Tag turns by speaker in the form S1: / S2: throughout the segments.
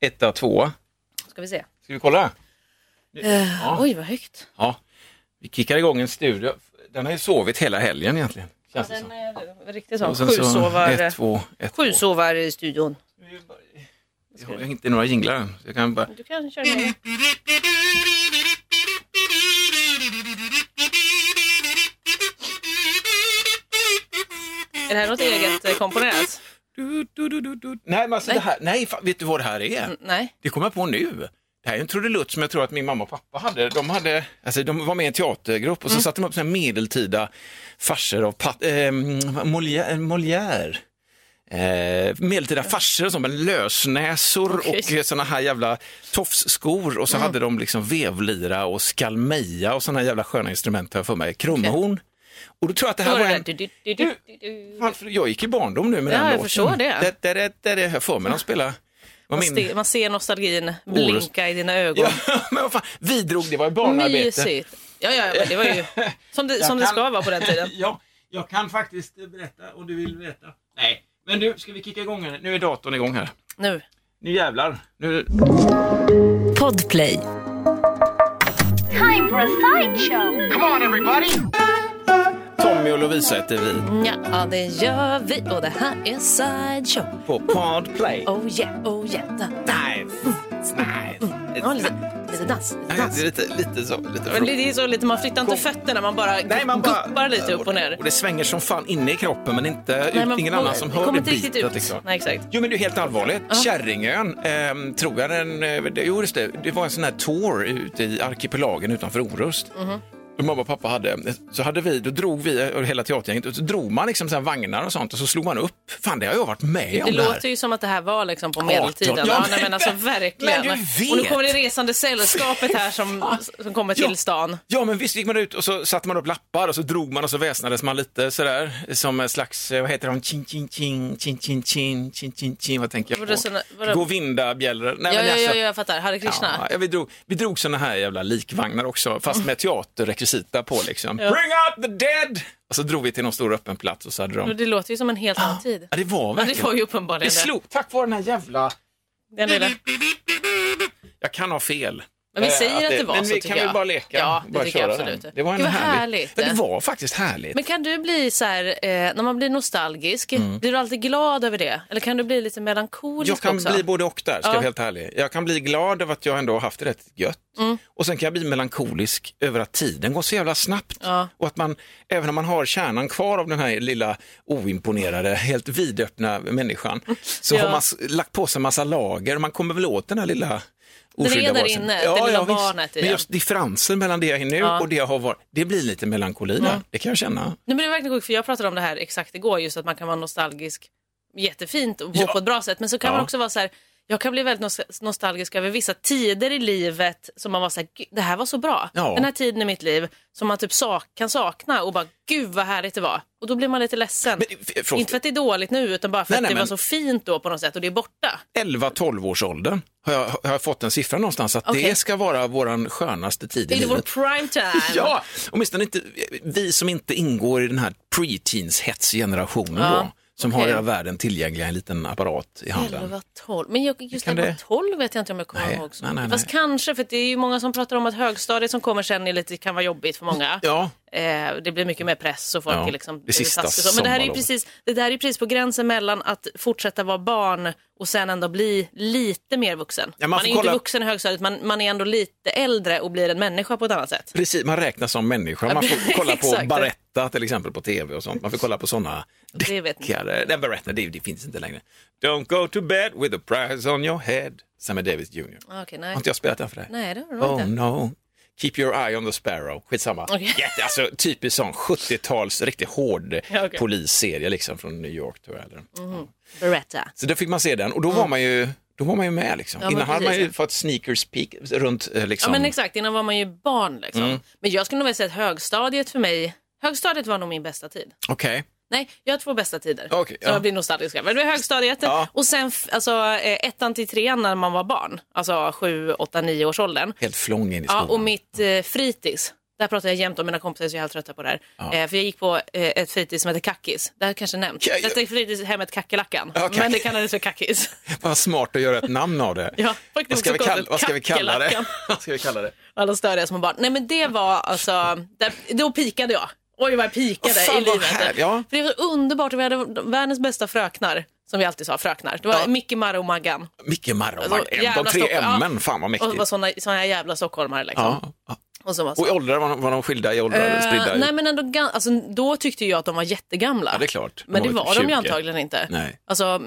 S1: etta, tvåa.
S2: Ska vi se.
S1: Ska vi kolla?
S2: Eh,
S1: Ja.
S2: Oj, vad högt.
S1: Ja. Vi kickar igång en studio. Den har ju sovit hela helgen egentligen. Känns det
S2: Den
S1: som.
S2: är riktigt sån
S1: Och sen så
S2: sjusovar,
S1: Ett, två, ett, två.
S2: sjusovar i studion.
S1: Jag har inte några jinglar än, så jag kan bara...
S2: Du kan köra igång. Är det här något eget eh, komponerat?
S1: Du, du, du, du, du. Nej, men alltså
S2: Nej.
S1: det här... Nej, fan, vet du vad det här är?
S2: Mm, nej.
S1: Det kommer jag på nu. Det här är en trudelutt som jag tror att min mamma och pappa hade. De, hade, alltså, de var med i en teatergrupp och
S2: Mm.
S1: så satte de upp såna här medeltida farser av Pat, eh, Molière. Molière. Eh, medeltida farser och sånt med lösnäsor
S2: Okej. Mm.
S1: och eh, såna här jävla tofsskor och så hade de liksom vevlira och skalmeja och såna här jävla sköna instrument har jag för mig. Krumhorn. Och då tror jag att det här
S2: Då
S1: var
S2: är det
S1: en...
S2: du, du, du, du, du, du.
S1: Varför- Jag gick i barndom nu med
S2: Ja,
S1: den
S2: jag
S1: låten.
S2: förstår det.
S1: det, det, det, det. Jag får mig när de spelar. Vad
S2: Man
S1: min-
S2: ste- Man ser nostalgin blinka i dina ögon.
S1: Ja, men vad fan, vi drog, det var ju barnarbete.
S2: Mysigt. Ja, ja, men det var ju som det, som det
S1: kan-
S2: ska vara på den tiden.
S1: Ja, jag kan faktiskt berätta om du vill veta. Nej, men nu ska vi kicka igång här. Nu är datorn igång här.
S2: Nu.
S1: Nu jävlar. Nu...
S3: Podplay.
S4: Time for a sideshow.
S1: Tommy och Lovisa heter vi
S2: Ja, det gör vi. Och det här är sideshow.
S1: på Podplay.
S2: Oh yeah, oh yeah. Da, da.
S1: Nice, nice.
S2: Ja, lite, lite dans, lite
S1: Nej, det
S2: dans.
S1: är lite, lite så. Lite
S2: Men det är så lite, man flyttar inte fötterna, man bara
S1: Nej, man bara-
S2: guppar lite upp och ner.
S1: Och det svänger som fan inne i kroppen men inte
S2: Nej,
S1: ut,
S2: man-
S1: ingen annan som
S2: det
S1: hör
S2: kommer
S1: det
S2: inte riktigt
S1: bitet.
S2: ut.
S1: Liksom.
S2: Nej, exakt.
S1: Jo men det är helt allvarligt. Kärringön, ehm, tror jag den, eh, det- jo just det, det var en sån här tour ute i arkipelagen utanför Orust.
S2: Mhm.
S1: Och mamma och pappa hade, så hade vi, då drog vi eh, hela teatergänget och så drog man liksom så här vagnar och sånt och så slog man upp. Fan det har jag varit med om
S2: Det
S1: här.
S2: låter ju som att det här var liksom på medeltiden.
S1: Ja,
S2: Ja,
S1: men-
S2: nej, men alltså verkligen.
S1: men du vet.
S2: Och nu kommer det resande sällskapet här som, som kommer till stan.
S1: Ja, men visst gick man ut och så satte man upp lappar och så drog man och så väsnades man lite sådär som en slags, eh, vad heter de, chin chin chin, chin chin chin, chin chin chin, vad tänker jag
S2: Var
S1: på?
S2: det såna- var det-
S1: Govindabjällror. Nej,
S2: Ja,
S1: men
S2: ja,
S1: alltså-
S2: ja, jag fattar. Hare Krishna.
S1: Ja, vi, drog, vi drog såna här jävla likvagnar också,
S2: Mm.
S1: fast med teaterrekvisita på liksom. Bring out the dead! Och så drog vi till någon stor öppen plats och så hade
S2: Men
S1: de...
S2: Det låter ju som en helt annan tid.
S1: Ja, det var
S2: Men
S1: verkligen...
S2: Mm. det var ju uppenbarligen
S1: Det slog, tack vare den här jävla...
S2: Den lilla.
S1: Jag kan ha fel.
S2: Men vi
S1: Eh,
S2: säger att det var
S1: men
S2: så
S1: vi
S2: tycker
S1: kan
S2: jag.
S1: väl bara leka?
S2: Ja, det
S1: bara
S2: tycker jag
S1: köra den.
S2: absolut.
S1: Det var en
S2: Gud, vad
S1: härlig...
S2: härligt.
S1: Ja, det var faktiskt härligt.
S2: Men kan du bli så här, eh, när man blir nostalgisk, blir du alltid glad över det? Eller kan du bli lite melankolisk
S1: Mm. Jag kan
S2: också?
S1: bli både och där, ska jag
S2: Ja.
S1: vara helt ärlig. Jag kan bli glad över att jag ändå har haft det rätt gött.
S2: Mm.
S1: Och sen kan jag bli melankolisk över att tiden går så jävla snabbt.
S2: Ja.
S1: Och att man, även om man har kärnan kvar av den här lilla oimponerade, helt vidöppna människan, så
S2: Ja.
S1: har man s- lagt på sig massa lager och man kommer väl åt den här lilla oskyldiga
S2: är där
S1: varelsen.
S2: inne, det lilla barnet i
S1: Men
S2: det.
S1: just differensen mellan det jag är nu och det jag har varit, det blir lite melankoli där. Det kan jag känna.
S2: Nej, men det är verkligen sjukt, för jag pratade om det här exakt igår, just att man kan vara nostalgisk jättefint och på,
S1: Ja.
S2: på ett bra sätt. Men så kan
S1: Ja.
S2: man också vara så här, jag kan bli väldigt nos- nostalgisk över vissa tider i livet som man var så här, "Gud, det här var så bra.
S1: Ja.
S2: Den här tiden i mitt liv som man typ sak, kan sakna och bara, gud vad härligt det var. Och då blir man lite ledsen.
S1: Men, f- förlåt,
S2: Inte för att det är dåligt nu, utan bara för
S1: Nej,
S2: att
S1: nej,
S2: det var
S1: men-
S2: så fint då på något sätt och det är borta.
S1: 11-12 års åldern har jag, har jag fått en siffra någonstans att
S2: Okej.
S1: det ska vara våran skönaste tid i
S2: Det är
S1: livet.
S2: vår prime time.
S1: Ja, åtminstone inte vi som inte ingår i den här pre-teens-hetsgenerationen då, som har
S2: okej.
S1: hela världen tillgängliga i en liten apparat i handen.
S2: 11, 12. Men jag, just
S1: Kan
S2: 11,
S1: det-
S2: 12 vet jag inte om jag kommer
S1: Nej,
S2: ihåg. Så.
S1: nej, nej,
S2: Fast
S1: nej.
S2: kanske, för det är ju många som pratar om att högstadiet som kommer sen är lite, kan vara jobbigt för många.
S1: Ja,
S2: Eh, det blir mycket mer press och folk
S1: Ja,
S2: är liksom
S1: det sista
S2: taskiga och så. Men det här är ju
S1: sommarlovet.
S2: precis, det där är ju precis på gränsen mellan att fortsätta vara barn och sen ändå bli lite mer vuxen.
S1: Ja, man
S2: man
S1: får
S2: är ju inte
S1: kolla-
S2: vuxen i högstadiet, man, man är ändå lite äldre och blir en människa på ett annat sätt.
S1: precis. Man räknas som människa. Man får
S2: precis,
S1: kolla på
S2: exakt.
S1: Baretta till exempel på tv och sånt. Man får kolla på sådana
S2: Det vet inte.
S1: deckare. Den Baretta, det, det finns inte längre. Don't go to bed with a prize on your head. Sammy Davis Jr.
S2: Ah, Okej,
S1: Har
S2: nej.
S1: inte jag spelat den för dig?
S2: Nej, det har du nog
S1: Oh
S2: inte.
S1: no. Keep your eye on the sparrow. Skitsamma.
S2: Okej.
S1: Jätte, alltså, typisk sån 70-tals riktigt hård
S2: Ja, okej. Mm.
S1: polisserie liksom från New York. Tror jag, eller. Oh.
S2: Berätta.
S1: Så då fick man se den och då var man ju, då var man ju med. Liksom.
S2: Mm. Ja, men
S1: Innan hade man
S2: precis.
S1: ju fått sneakers peek runt eh,
S2: Ja
S1: liksom. Mm.
S2: men exakt, innan var man ju barn liksom. Men jag skulle nog vilja säga att högstadiet för mig, högstadiet var nog min bästa tid.
S1: Okej.
S2: Nej, jag har två bästa tider.
S1: Okej,
S2: så
S1: ja.
S2: jag blir nostalgisk. själv. Men det var högstadiet
S1: Ja.
S2: och sen f- alltså, eh, ettan till trean när man var barn. Alltså sju, åtta, nio års åldern.
S1: Helt flång in i
S2: Ja,
S1: skolan.
S2: och mitt eh, fritids. Det här pratar jag jämt om, mina kompisar är så jävla trötta på det här. Eh, för jag gick på eh, ett fritids som heter Kackis. Det här kanske nämnt.
S1: Ja, ja.
S2: Detta är fritidshemmet Kackerlackan.
S1: Ja, Kack-
S2: Men det kallades för Kackis.
S1: Vad smart att göra ett namn av det.
S2: Ja, faktiskt
S1: vad, ska vi
S2: så
S1: kalla,
S2: konstigt.
S1: vad ska vi kalla det?
S2: Kackerlackan.
S1: vad ska vi kalla det?
S2: Och alla störiga små barn. Nej men det var alltså, där, då pikade jag. Oj vad jag pikade
S1: Åh, fan,
S2: i
S1: vad
S2: livet.
S1: här- ja.
S2: För det var så underbart och vi hade världens bästa fröknar. Som vi alltid sa, fröknar. Det var
S1: Ja.
S2: Micke, Marre och Maggan.
S1: Micke Marre och
S2: Alltså,
S1: Maggan, de
S2: jävla
S1: tre
S2: Stockholm.
S1: M'n, fan vad
S2: Och
S1: mäktigt.
S2: var såna, såna jävla stockholmare liksom.
S1: Ja. ja.
S2: Och så var så.
S1: Och i åldrar var de, var de skilda i åldrar,
S2: Eh,
S1: spridda? i-
S2: nej men ändå, gan- alltså, då tyckte jag att de var jättegamla.
S1: Ja, det är klart. De
S2: Men det
S1: var väl
S2: var
S1: typ
S2: de
S1: 20.
S2: ju antagligen inte.
S1: Nej.
S2: Alltså,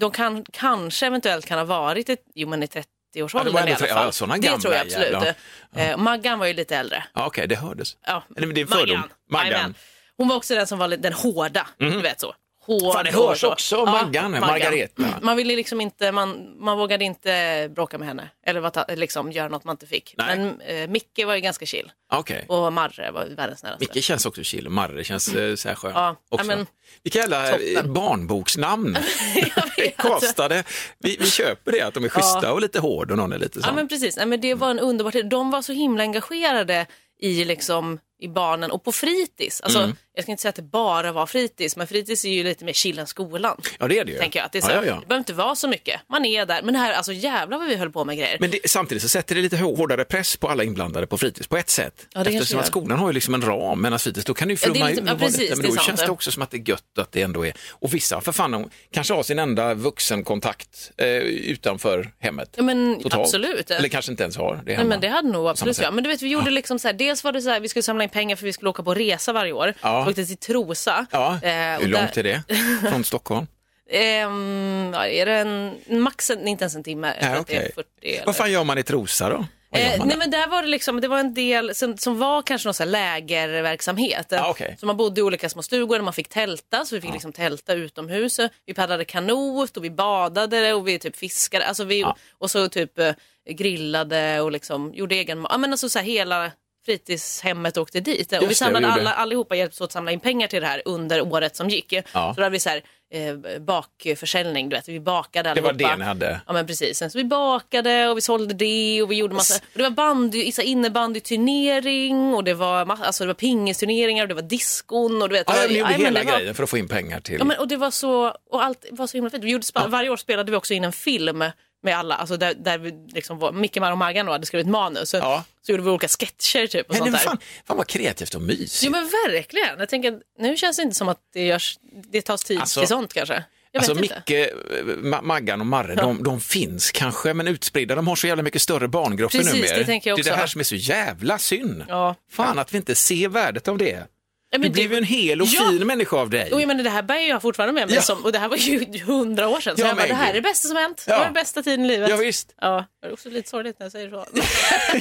S2: de kan, kanske eventuellt kan ha varit ett, jo men i 30-årsåldern
S1: Ja, det var ändå
S2: i alla
S1: tre-
S2: fall.
S1: ja, såna
S2: det
S1: gamla
S2: tror jag absolut.
S1: jävlar.
S2: Eh, Maggan var ju lite äldre.
S1: Ja, Okej, det hördes.
S2: Ja.
S1: Eller men det är en fördom. Maggan. Mhm.
S2: Jajamän. Hon var också den som var lite- den hårda, du vet så. Hård,
S1: Fan, det hörs
S2: hård.
S1: också, Maggan, Margareta.
S2: Man ville liksom inte, man, man vågade inte bråka med henne eller vad ta, liksom, göra något man inte fick.
S1: Nej.
S2: Men eh, Micke var ju ganska chill
S1: Okej.
S2: och Marre var världens snällaste.
S1: Micke känns också chill, Marre känns eh, så här skön.
S2: Mm. Ja,
S1: också.
S2: ja, men-
S1: Vilka jävla eh,
S2: Toppen. alltså-
S1: barnboksnamn.
S2: Jag vet.
S1: Kastade. Vi, vi köper det, att de är schyssta och lite hård och någon är lite sån.
S2: Ja men precis, Nej, men det var en underbar tid. De var så himla engagerade i, liksom, i barnen och på fritids. Alltså,
S1: Mm.
S2: Jag ska inte säga att det bara var fritids, men fritids är ju lite mer chill än skolan.
S1: Ja, det är det ju.
S2: Tänker jag. Att det, är så,
S1: ja, ja, ja.
S2: det behöver inte vara så mycket, man är där. Men det här, alltså jävlar vad vi höll på med grejer.
S1: Men det, samtidigt så sätter det lite hårdare press på alla inblandade på fritids på ett sätt.
S2: Ja, det kanske
S1: Eftersom att
S2: gör.
S1: skolan har ju liksom en ram medan fritids då kan du ju
S2: Ja, det är
S1: flumma
S2: lite-
S1: in
S2: ja,
S1: och vara
S2: precis,
S1: lite, men
S2: det är
S1: då
S2: sant,
S1: känns det
S2: ja.
S1: också som att det är gött att det ändå är. Och vissa för fan de kanske har sin enda vuxenkontakt eh, utanför hemmet.
S2: Ja, men
S1: totalt.
S2: absolut.
S1: Eller kanske inte ens har det hemma.
S2: Nej, men det hade nog absolut
S1: sätt.
S2: ja. Men du vet, vi gjorde liksom så här, dels var det så här, vi skulle samla in pengar för vi skulle åka på resa varje år.
S1: Ja.
S2: Vi åkte till Trosa.
S1: Ja,
S2: Eh, och
S1: hur långt
S2: där-
S1: är det från Stockholm?
S2: Ehm, ja, är det en, max en, inte ens en timme. Typ Jag tror
S1: Ja,
S2: att det är
S1: okej.
S2: 40 eller-
S1: Vad fan gör man i Trosa då? Vad gör
S2: Eh,
S1: man
S2: nej
S1: där?
S2: men där var det liksom, det var en del som, som var kanske någon så här lägerverksamhet.
S1: Ah, okej. Ah.
S2: Så man bodde i olika små stugor där man fick tälta, så vi fick liksom tälta utomhus. Vi paddlade kanot och vi badade och vi typ fiskade. Alltså vi,
S1: Ah.
S2: Och så typ eh, grillade och liksom gjorde egen mat. Ja, men alltså så här hela fritidshemmet åkte dit. och vi
S1: Just det,
S2: samlade
S1: vi gjorde.
S2: alla, allihopa hjälptes åt att samla in pengar till det här under året som gick.
S1: Ah.
S2: Så då hade vi så här, eh, bakförsäljning, du vet. Vi bakade
S1: Det var
S2: allihopa.
S1: det ni hade?
S2: Ja men precis. Sen så vi bakade och vi sålde det och vi gjorde massa. Och det var bandy, så här innebandyturnering och det var, ma- alltså det var pingisturneringar och det var diskon och du vet.
S1: Ah,
S2: det
S1: ja,
S2: var,
S1: ni gjorde
S2: Ja, men
S1: hela
S2: det var-
S1: grejen för att få in pengar till...
S2: Ja, men, och det var så, och allt var så himla fint. Vi gjorde, spa- Varje år spelade vi också in en film med alla, alltså där, där vi liksom var, Micke, Mar och Maggan då hade skrivit manus. Så,
S1: Ja.
S2: så gjorde vi olika sketcher typ och
S1: Men
S2: sånt
S1: det-
S2: där.
S1: fan, fan vad kreativt och mysigt.
S2: Jo men verkligen. Jag tänker, att nu känns det inte som att det, görs, det tas tid
S1: Alltså-
S2: till sånt kanske. Jag
S1: Alltså
S2: vet inte.
S1: Micke, eh, Ma- Maggan och Marre, de, de finns kanske, men utspridda. De har så jävla mycket större barngrupper
S2: Precis,
S1: numera.
S2: det tänker jag
S1: det är det
S2: också.
S1: här som är så jävla synd.
S2: Ja.
S1: Fan att vi inte ser värdet av det.
S2: Ja, men typ.
S1: Du blev ju en hel och
S2: Ja.
S1: fin människa av dig.
S2: Jo, jag menar, det här bär ju jag fortfarande med mig.
S1: Ja.
S2: Som, och det här var ju hundra år sedan. Så
S1: Ja,
S2: jag bara,
S1: men
S2: det här är det
S1: gud.
S2: bästa som hänt.
S1: Ja.
S2: Det var den bästa tiden i livet.
S1: Ja, visst.
S2: Ja, det är också lite sorgligt när jag säger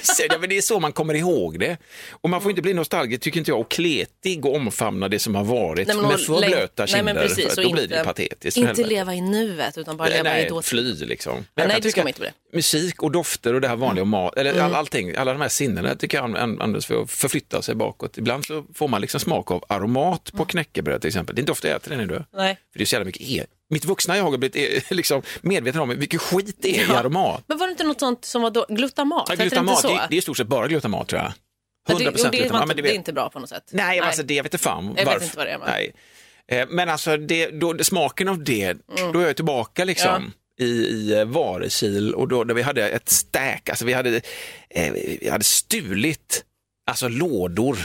S2: så.
S1: ja, men det är så man kommer ihåg det. Och man får inte bli nostalgisk, tycker inte jag, och kletig och omfamna det som har varit
S2: Nej, men
S1: med
S2: och
S1: för
S2: läng-
S1: blöta
S2: Nej,
S1: kinder.
S2: men precis,
S1: för att
S2: och
S1: då blir det ju
S2: inte-
S1: patetiskt. för
S2: Inte
S1: helvete.
S2: leva i nuet, utan bara leva i
S1: Nej,
S2: dåtid.
S1: fly liksom. Men
S2: nej,
S1: jag
S2: det
S1: kan
S2: ska
S1: tycka
S2: man inte bli. Mm.
S1: musik och dofter och det här vanliga, och mat, eller all, allting, alla de här sinnena tycker jag an- an- används för att förflytta sig bakåt. Ibland så får man liksom smak av aromat
S2: Mm.
S1: på knäckebröd till exempel. Det är inte ofta jag äter det nu. du.
S2: Nej.
S1: För det är så jävla mycket e. Mitt vuxna jag har blivit eh, liksom medveten om hur mycket skit det är i aromat.
S2: Men var det inte något sånt som var då, glutamat?
S1: Ja,
S2: Hette
S1: glutamat,
S2: det
S1: det, är-
S2: inte så?
S1: det är i stort sett bara glutamat tror jag. 100%
S2: Men det, och det, var
S1: glutamat. Ja,
S2: inte,
S1: men du
S2: det är
S1: vet-
S2: inte bra på något sätt.
S1: Nej, men Alltså, det jag vet inte fan
S2: vet
S1: varför.
S2: inte vad det är, men-
S1: Nej. Eh, Men alltså det, då, det, smaken av det,
S2: Mm.
S1: då är jag tillbaka liksom. i, i eh, Varekil och då, där vi hade ett stack, alltså vi hade, eh, vi hade stulit alltså lådor.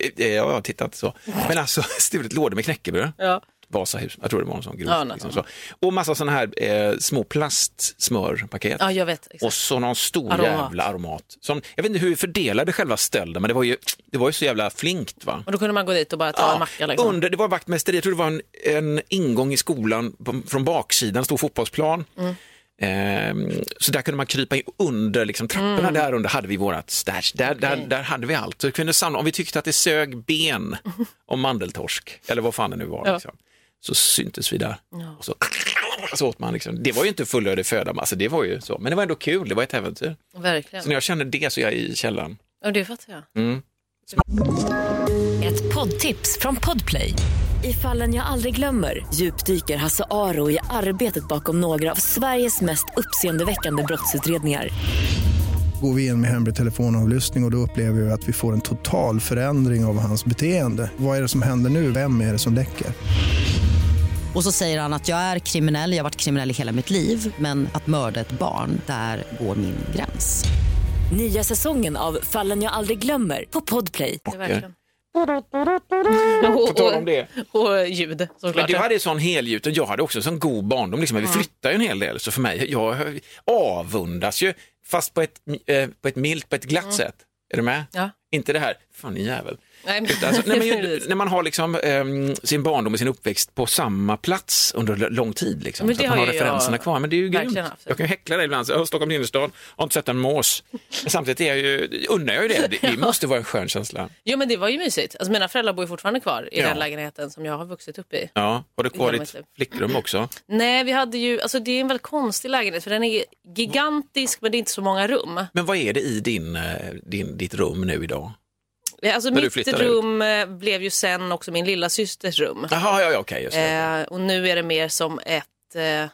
S1: Eh, eh, ja, jag tittar inte så. Men alltså stulit lådor med knäckebröd.
S2: Ja.
S1: Vasahus, jag tror det var någon sån grov.
S2: Ja, nej,
S1: liksom så. Och massa sådana här eh, små plastsmörpaket.
S2: ja, jag vet.
S1: Och
S2: Exakt.
S1: så någon stor
S2: Aromat.
S1: jävla aromat. Som, jag vet inte hur vi fördelade själva stölden, men det var ju, det var ju så jävla flinkt. Va?
S2: Och då kunde man gå dit och bara ta en macka. Liksom.
S1: Under, det var vaktmästeri, jag tror det var en, en ingång i skolan på, från baksidan, stor fotbollsplan.
S2: Mm.
S1: Ehm, så där kunde man krypa in under liksom, trapporna,
S2: Mm.
S1: där under hade vi vårat stash. Där, där, där hade vi allt. Så vi kunde samla, om vi tyckte att det sög ben om mandeltorsk, eller vad fan det nu var,
S2: Ja.
S1: liksom, så syntes vi där. Och så, så åt man liksom. Det var ju inte fullödig föda, men alltså, det var ju så. men det var ändå kul, det var ett äventyr.
S2: Verkligen.
S1: Så när jag känner det så är jag i källaren.
S2: Och det fattar jag.
S3: Ett poddtips från Podplay. I fallen jag aldrig glömmer djupdyker Hasse Aro i arbetet bakom några av Sveriges mest uppseendeväckande brottsutredningar.
S4: Går vi in med hemlig telefonavlyssning och, och då upplever vi att vi får en total förändring av hans beteende. Vad är det som händer nu? Vem är det som läcker?
S5: Och så säger han att jag är kriminell, jag har varit kriminell i hela mitt liv men att mörda ett barn, där går min gräns.
S3: Nya säsongen av Fallen jag aldrig glömmer på Podplay.
S2: Det är verkligen.
S1: På tal om det.
S2: Och, och, och ljud
S1: Men
S2: såklart.
S1: du hade ju sån helgjuten, jag hade också en sån god barndom. Liksom. Vi flyttade ju en hel del, så för mig, jag avundas ju, fast på ett, eh, på ett milt, på ett glatt sätt. Är du med?
S2: Ja.
S1: Inte det här, fan ni jävel.
S2: Nej, men-
S1: Utan, alltså, nej, men, ju-
S2: precis.
S1: när man har liksom, ehm, sin barndom och sin uppväxt på samma plats under l- lång tid, liksom,
S2: Men
S1: så
S2: det
S1: att man har
S2: har ju
S1: referenserna
S2: jag
S1: kvar. Men det är ju
S2: verkligen
S1: grymt.
S2: haft.
S1: Jag kan ju häckla dig ibland, så, "Åh, Stockholms innerstad, har inte sett en mås. Men Samtidigt är jag ju, unnar jag ju det, det, det måste vara en skön känsla.
S2: Jo men det var ju mysigt. Alltså, mina föräldrar bor ju fortfarande kvar i
S1: Ja.
S2: den lägenheten som jag har vuxit upp i.
S1: Ja, har du kvar
S2: Ja, men
S1: ditt
S2: typ.
S1: flickrum också?
S2: Nej, vi hade ju, alltså det är en väldigt konstig lägenhet för den är gigantisk men det är inte så många rum.
S1: Men vad är det i din, eh, din, ditt rum nu idag?
S2: Alltså
S1: När du
S2: mitt
S1: flyttade
S2: rum eh, blev ju sen också min lilla systers rum.
S1: Jaha, ja, ja, okej, just det.
S2: Eh, och nu är det mer som ett, eh,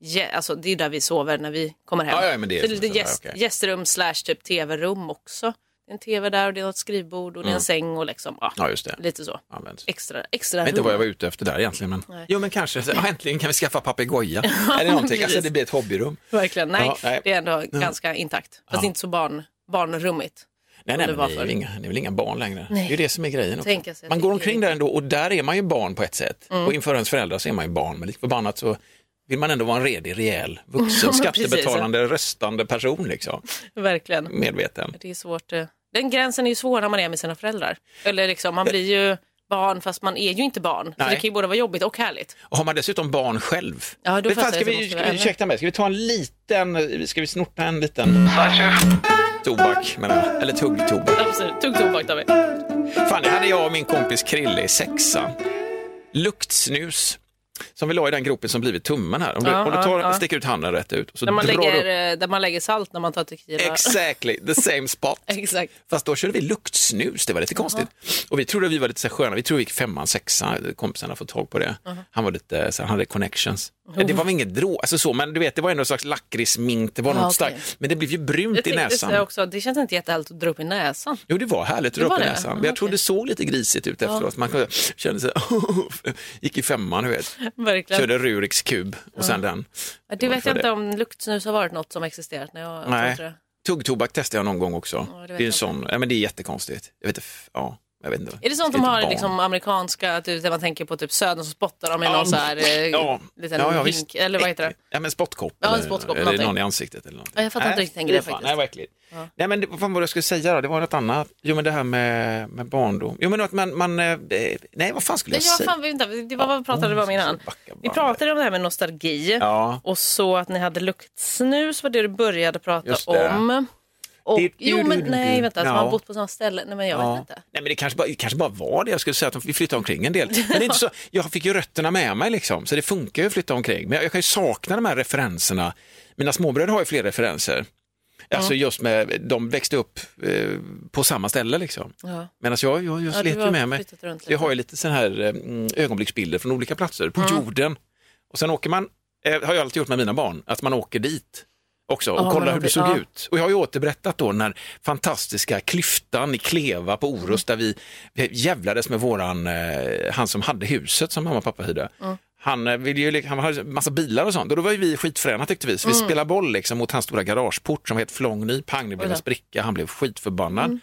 S2: ge- alltså det är där vi sover när vi kommer hem.
S1: Ja, ja, men det är
S2: så
S1: som
S2: lite
S1: ett sådär,
S2: gäst,
S1: okej.
S2: gästrum slash typ tv-rum också. Det är en tv där och det är ett skrivbord och det är en säng och liksom, ja,
S1: Mm. Ja, just det.
S2: lite så.
S1: Används. Jag
S2: Extra, extra
S1: vet inte
S2: rum.
S1: vad jag var ute efter där egentligen. Men... Jo, men kanske. Så, ja, äntligen kan vi skaffa papegoja. Eller någonting. Alltså,
S2: precis.
S1: det blir ett hobbyrum.
S2: Verkligen, nej,
S1: Ja, nej. Mm.
S2: det är ändå ganska intakt. Fast inte så barn, barnrummigt.
S1: Nej,
S2: Som
S1: nej,
S2: det
S1: men
S2: var
S1: ni är
S2: förr.
S1: ju inga, ni är väl inga barn längre. Det är ju det som är grejen. Också.
S2: Tänka sig att
S1: Man
S2: det Mm.
S1: går
S2: är
S1: omkring där ändå och där är man ju barn på ett sätt. Och inför ens föräldrar så är man ju barn. Men lik förbannat så vill man ändå vara en redig, rejäl, vuxen,
S2: Ja, men precis.
S1: skattebetalande, röstande person. Liksom.
S2: Verkligen.
S1: Medveten.
S2: Det är svårt. eh, Den gränsen är ju svår när man är med sina föräldrar. Eller liksom, man blir ju barn fast man är ju inte barn. Så
S1: Nej.
S2: det kan ju både vara jobbigt och härligt.
S1: Och har man dessutom barn själv.
S2: Ja, då
S1: Men fan,
S2: fattar jag
S1: ska
S2: att det
S1: vi,
S2: måste
S1: ska
S2: vara
S1: vi,
S2: ännu-
S1: ursäkta mig, ska vi ta en liten, ska vi snorta en liten tobak, menar jag. eller tuggtobak.
S2: Absolut, tog tobak av
S1: Fan, det hade jag och min kompis Krille i sexan. Luktsnus. Som vi la i den gropen som blivit tummen här. Om du,
S2: Ja,
S1: om du
S2: ja,
S1: tar,
S2: ja.
S1: sticker ut handen rätt ut och så
S2: Där man,
S1: drar du
S2: lägger,
S1: upp.
S2: eh, där man lägger salt när man tar tequila.
S1: Exactly, the same spot.
S2: Exakt.
S1: Fast då körde vi luktsnus, det var lite konstigt. Och vi trodde vi var lite så här sköna, vi trodde vi gick femman, sexan, kompisarna får tag på det.
S2: Uh-huh.
S1: Han var lite, så här, han hade connections.
S2: Oh.
S1: Det var väl inget drå, alltså så, men du vet, det var ändå en slags lakritsmink, det var
S2: Ja,
S1: något
S2: okej.
S1: starkt. Men det blev ju brunt
S2: Jag
S1: i
S2: tänkte
S1: näsan.
S2: så här också, det känns inte jättehärligt att dra upp i näsan.
S1: Jo, det var härligt att
S2: Det
S1: dra upp
S2: var
S1: i
S2: det?
S1: näsan.
S2: Ja,
S1: Men jag tror
S2: okej.
S1: det såg lite grisigt ut efteråt. Man kunde- kände sig, gick i femman, du vet.
S2: Verkligen.
S1: Körde Ruriks kub och sen den.
S2: Ja, det vet
S1: för
S2: jag
S1: det.
S2: inte om luktsnus har varit något som existerat när jag
S1: Nej.
S2: tror jag.
S1: Tuggtobak testade jag någon gång också.
S2: det vet
S1: det,
S2: jag
S1: är en
S2: inte.
S1: sån, ja, men det är jättekonstigt. Jag vet inte, f- ja, jag vet inte.
S2: Är det sånt
S1: Ska
S2: de
S1: inte
S2: har
S1: barn.
S2: liksom amerikanska, typ, där man tänker på typ södern så spottar de i någon så här eh,
S1: Ja.
S2: liten
S1: Ja, ja,
S2: hink,
S1: visst.
S2: eller vad heter det?
S1: Ja, men spottkopp.
S2: Ja, en
S1: eller-
S2: spottkopp,
S1: Eller
S2: någonting.
S1: någon i ansiktet eller någonting.
S2: Ja, jag fattar inte riktigt den
S1: fy
S2: grejen
S1: fan,
S2: faktiskt.
S1: Nej, verkligen. Nej, men det- vad fan var det jag skulle säga då? Det var något annat. Jo, men det här med, med barndom. Jo, men att man, man... eh, Nej, vad fan skulle
S2: Nej,
S1: jag
S2: jag
S1: säga?
S2: fan, vänta, det var vad vi pratade om innan.
S1: backa
S2: Vi
S1: bandet.
S2: pratade om det här med nostalgi
S1: Ja.
S2: och så att ni hade luktsnus var det du började prata
S1: Just det.
S2: om. Och,
S1: Det-
S2: jo men nej vänta, att
S1: Ja.
S2: man har bott på samma ställe. Nej men jag vet inte.
S1: Nej, men det kanske, bara, det kanske bara var det jag skulle säga, att vi flyttade omkring en del. Men det är inte så, jag fick ju rötterna med mig, liksom, så det funkar ju att flytta omkring. Men jag, jag kan ju sakna de här referenserna. Mina småbröder har ju fler referenser. Alltså just med, de växte upp eh, på samma ställe liksom.
S2: Ja.
S1: Medan jag, jag, jag
S2: du
S1: slet ju
S2: har
S1: med mig.
S2: flyttat runt lite.
S1: Jag har ju lite sån här eh, mm, ögonblicksbilder från olika platser på jorden. Och sen åker man, eh, har jag alltid gjort med mina barn, att man åker dit också och
S2: Ja,
S1: kollar
S2: men
S1: hur det
S2: det-
S1: såg
S2: ja.
S1: ut. Och jag har ju återberättat då den här fantastiska klyftan i Kleva på Orust där vi, vi jävlades med våran, eh, han som hade huset som mamma och pappa hyrde. Han, eh, ville ju, li- han hade massa bilar och sånt och då var ju vi skitfräna tyckte vi.
S2: Mm.
S1: Så vi spelade boll liksom mot hans stora garageport som var helt flångny. Pang, det blev en spricka, han blev skitförbannad.
S2: Mm.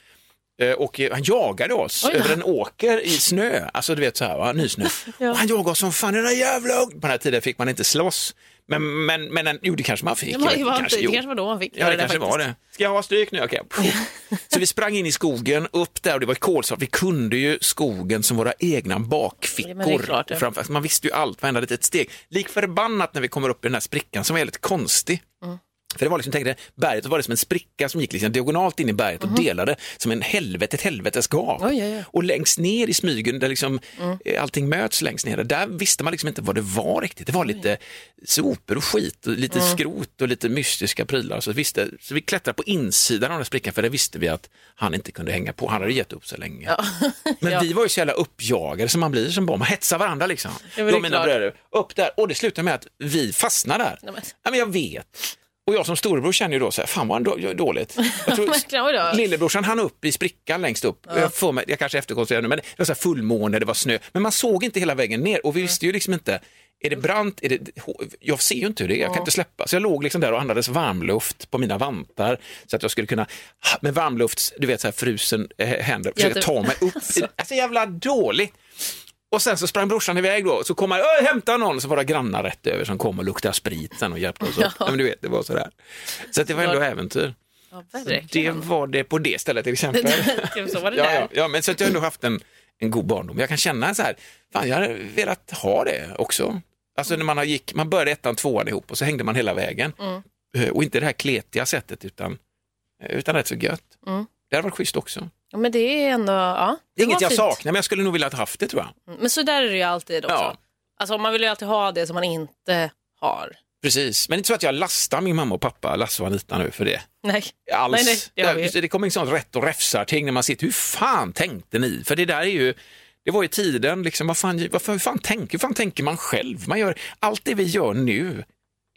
S1: Eh, Och eh, han jagade oss över en åker i snö, alltså du vet så här, va? nysnö. Och han jagade oss som fan, den där jävla ung- På den här tiden fick man inte slåss. Men, men, men en- jo, det kanske man fick.
S2: Det,
S1: jag
S2: var,
S1: vet
S2: det,
S1: inte,
S2: var inte, det
S1: jo.
S2: kanske var då man fick
S1: Ja, det
S2: där
S1: kanske var
S2: faktiskt.
S1: det. Ska jag ha stryk nu? Okej. Så vi sprang in i skogen, upp där och det var kolsvart. Vi kunde ju skogen som våra egna
S2: Ja, men det är
S1: bakfickor.
S2: klart, ja.
S1: Framför- Man visste ju allt, varenda litet steg. Lik förbannat när vi kommer upp i den här sprickan som var väldigt konstig.
S2: Mm.
S1: För det var liksom, tänk dig, berget då var det som en spricka som gick liksom diagonalt in i berget och delade som en helvete, ett helvetes gap.
S2: Mhm. Oj, oj, Mm. oj.
S1: Och längst ner i smygen där liksom eh, allting möts längst ner, där visste man liksom inte vad det var riktigt. Det var lite sopor och skit och lite
S2: Mm.
S1: skrot och lite mystiska prylar. Så, visste, så vi klättrade på insidan av den här sprickan för där visste vi att han inte kunde hänga på. Han hade gett upp så länge. Men vi var ju så jävla uppjagade som man blir som barn. Man hetsar varandra liksom.
S2: men det är
S1: Jag och mina
S2: klart.
S1: bröder, upp där. Och det slutade med att vi fastnade där.
S2: men-
S1: Ja, men jag vet. Och jag som storebror känner ju då så här, fan vad då- dåligt. Jag
S2: Verkligen, oj då.
S1: lillebrorsan han upp i sprickan längst upp. Jag, får mig, jag kanske efterkonstruerar nu, men det var så här fullmåne, det var snö. Men man såg inte hela vägen ner och vi visste ju liksom inte, är det brant? Är det, jag ser ju inte hur det är, jag kan inte släppa. Så jag låg liksom där och andades varmluft på mina vantar så att jag skulle kunna, med varmluft, du vet så här frusen eh, händer, försöka
S2: du-
S1: ta mig upp. Alltså. jävla dåligt. Och sen så sprang brorsan iväg då, så kom han, "Öh, hämta någon, så var det grannar rätt över som kom och luktade sprit sen och hjälpte oss upp. Ja. Men du vet, det var sådär. Så att det var ändå äventyr.
S2: Ja,
S1: Det
S2: verkligen.
S1: var det på det stället till exempel.
S2: Typ så var det
S1: ja,
S2: där.
S1: ja, ja, men så att jag har ändå haft en, en god barndom. Jag kan känna så här, fan jag hade velat ha det också. Alltså när man, har gick, man började ettan, tvåan ihop och så hängde man hela vägen.
S2: Mm.
S1: Eh, Och inte det här kletiga sättet utan, eh, utan rätt så gött.
S2: Mm.
S1: Det hade varit schysst också.
S2: Ja, men det är ändå, ja.
S1: Det
S2: Det
S1: är inget
S2: var
S1: jag
S2: fint.
S1: saknar men jag skulle nog vilja ha haft det tror jag.
S2: Mm, Men så där är det ju alltid också.
S1: Ja.
S2: Alltså man vill ju alltid ha det som man inte har.
S1: Precis, men det är inte så att jag lastar min mamma och pappa, Lasse och Anita nu för det.
S2: Nej.
S1: Alls.
S2: Nej, nej, det har vi ju.
S1: det, det kommer liksom rätt och räfsar-ting när man sitter, hur fan tänkte ni? För det där är ju, det var ju tiden, liksom, vad fan, vad fan, hur, fan tänker, hur fan tänker man själv? Man gör, allt det vi gör nu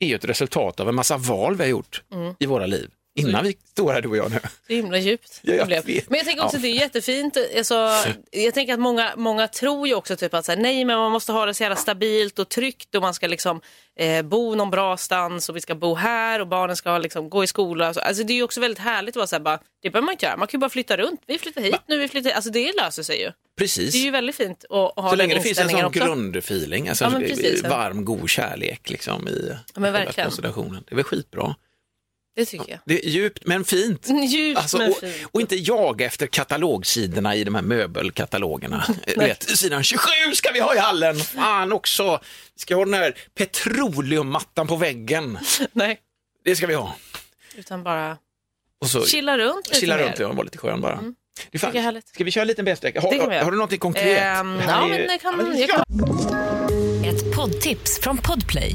S1: är ju ett resultat av en massa val vi har gjort
S2: Mm.
S1: i våra liv. Innan vi står här du och jag nu.
S2: Så himla djupt.
S1: Ja, jag
S2: det blev.
S1: vet.
S2: Men jag tänker också
S1: Ja.
S2: att det är jättefint. Alltså, jag tänker att många, många tror ju också typ att så här, nej, men man måste ha det så jävla stabilt och tryggt och man ska liksom eh, bo någon bra stans och vi ska bo här och barnen ska liksom gå i skola. Och så. Alltså, det är ju också väldigt härligt att vara så här, bara, det behöver man inte göra. Man kan ju bara flytta runt. Vi flyttar hit nu, vi flyttar hit. Alltså det löser sig ju.
S1: Precis.
S2: Det är ju väldigt fint att att
S1: Så
S2: ha den
S1: länge det finns en
S2: inställningen
S1: sån
S2: också.
S1: grundfeeling, alltså
S2: Ja,
S1: en
S2: men precis, ja.
S1: varm, god kärlek liksom, i
S2: Ja, men
S1: själva
S2: verkligen.
S1: konstellationen. Det är väl skitbra.
S2: Det tycker jag.
S1: Det är djupt men fint.
S2: Djupt
S1: Alltså,
S2: men
S1: och,
S2: fint.
S1: och inte jaga efter katalogsidorna i de här möbelkatalogerna. Eh, Du vet, sidan 27 ska vi ha i hallen. Fan också. Vi ska ha den här petroleummattan på väggen.
S2: Nej,
S1: Det ska vi ha.
S2: utan bara
S1: Och så
S2: chilla runt lite
S1: chilla
S2: mer. Mm.
S1: runt och vara lite skön bara. Det är fan-
S2: Tycker jag är härligt.
S1: Ska vi köra en liten bästdräkt?
S2: Det kan vi
S1: Har,
S2: göra.
S1: har du någonting konkret?
S2: Ehm,
S1: Det här
S2: ja,
S1: är ju-
S2: men det kan-
S1: Ja, men
S2: jag kan-
S3: Ett poddtips från Podplay.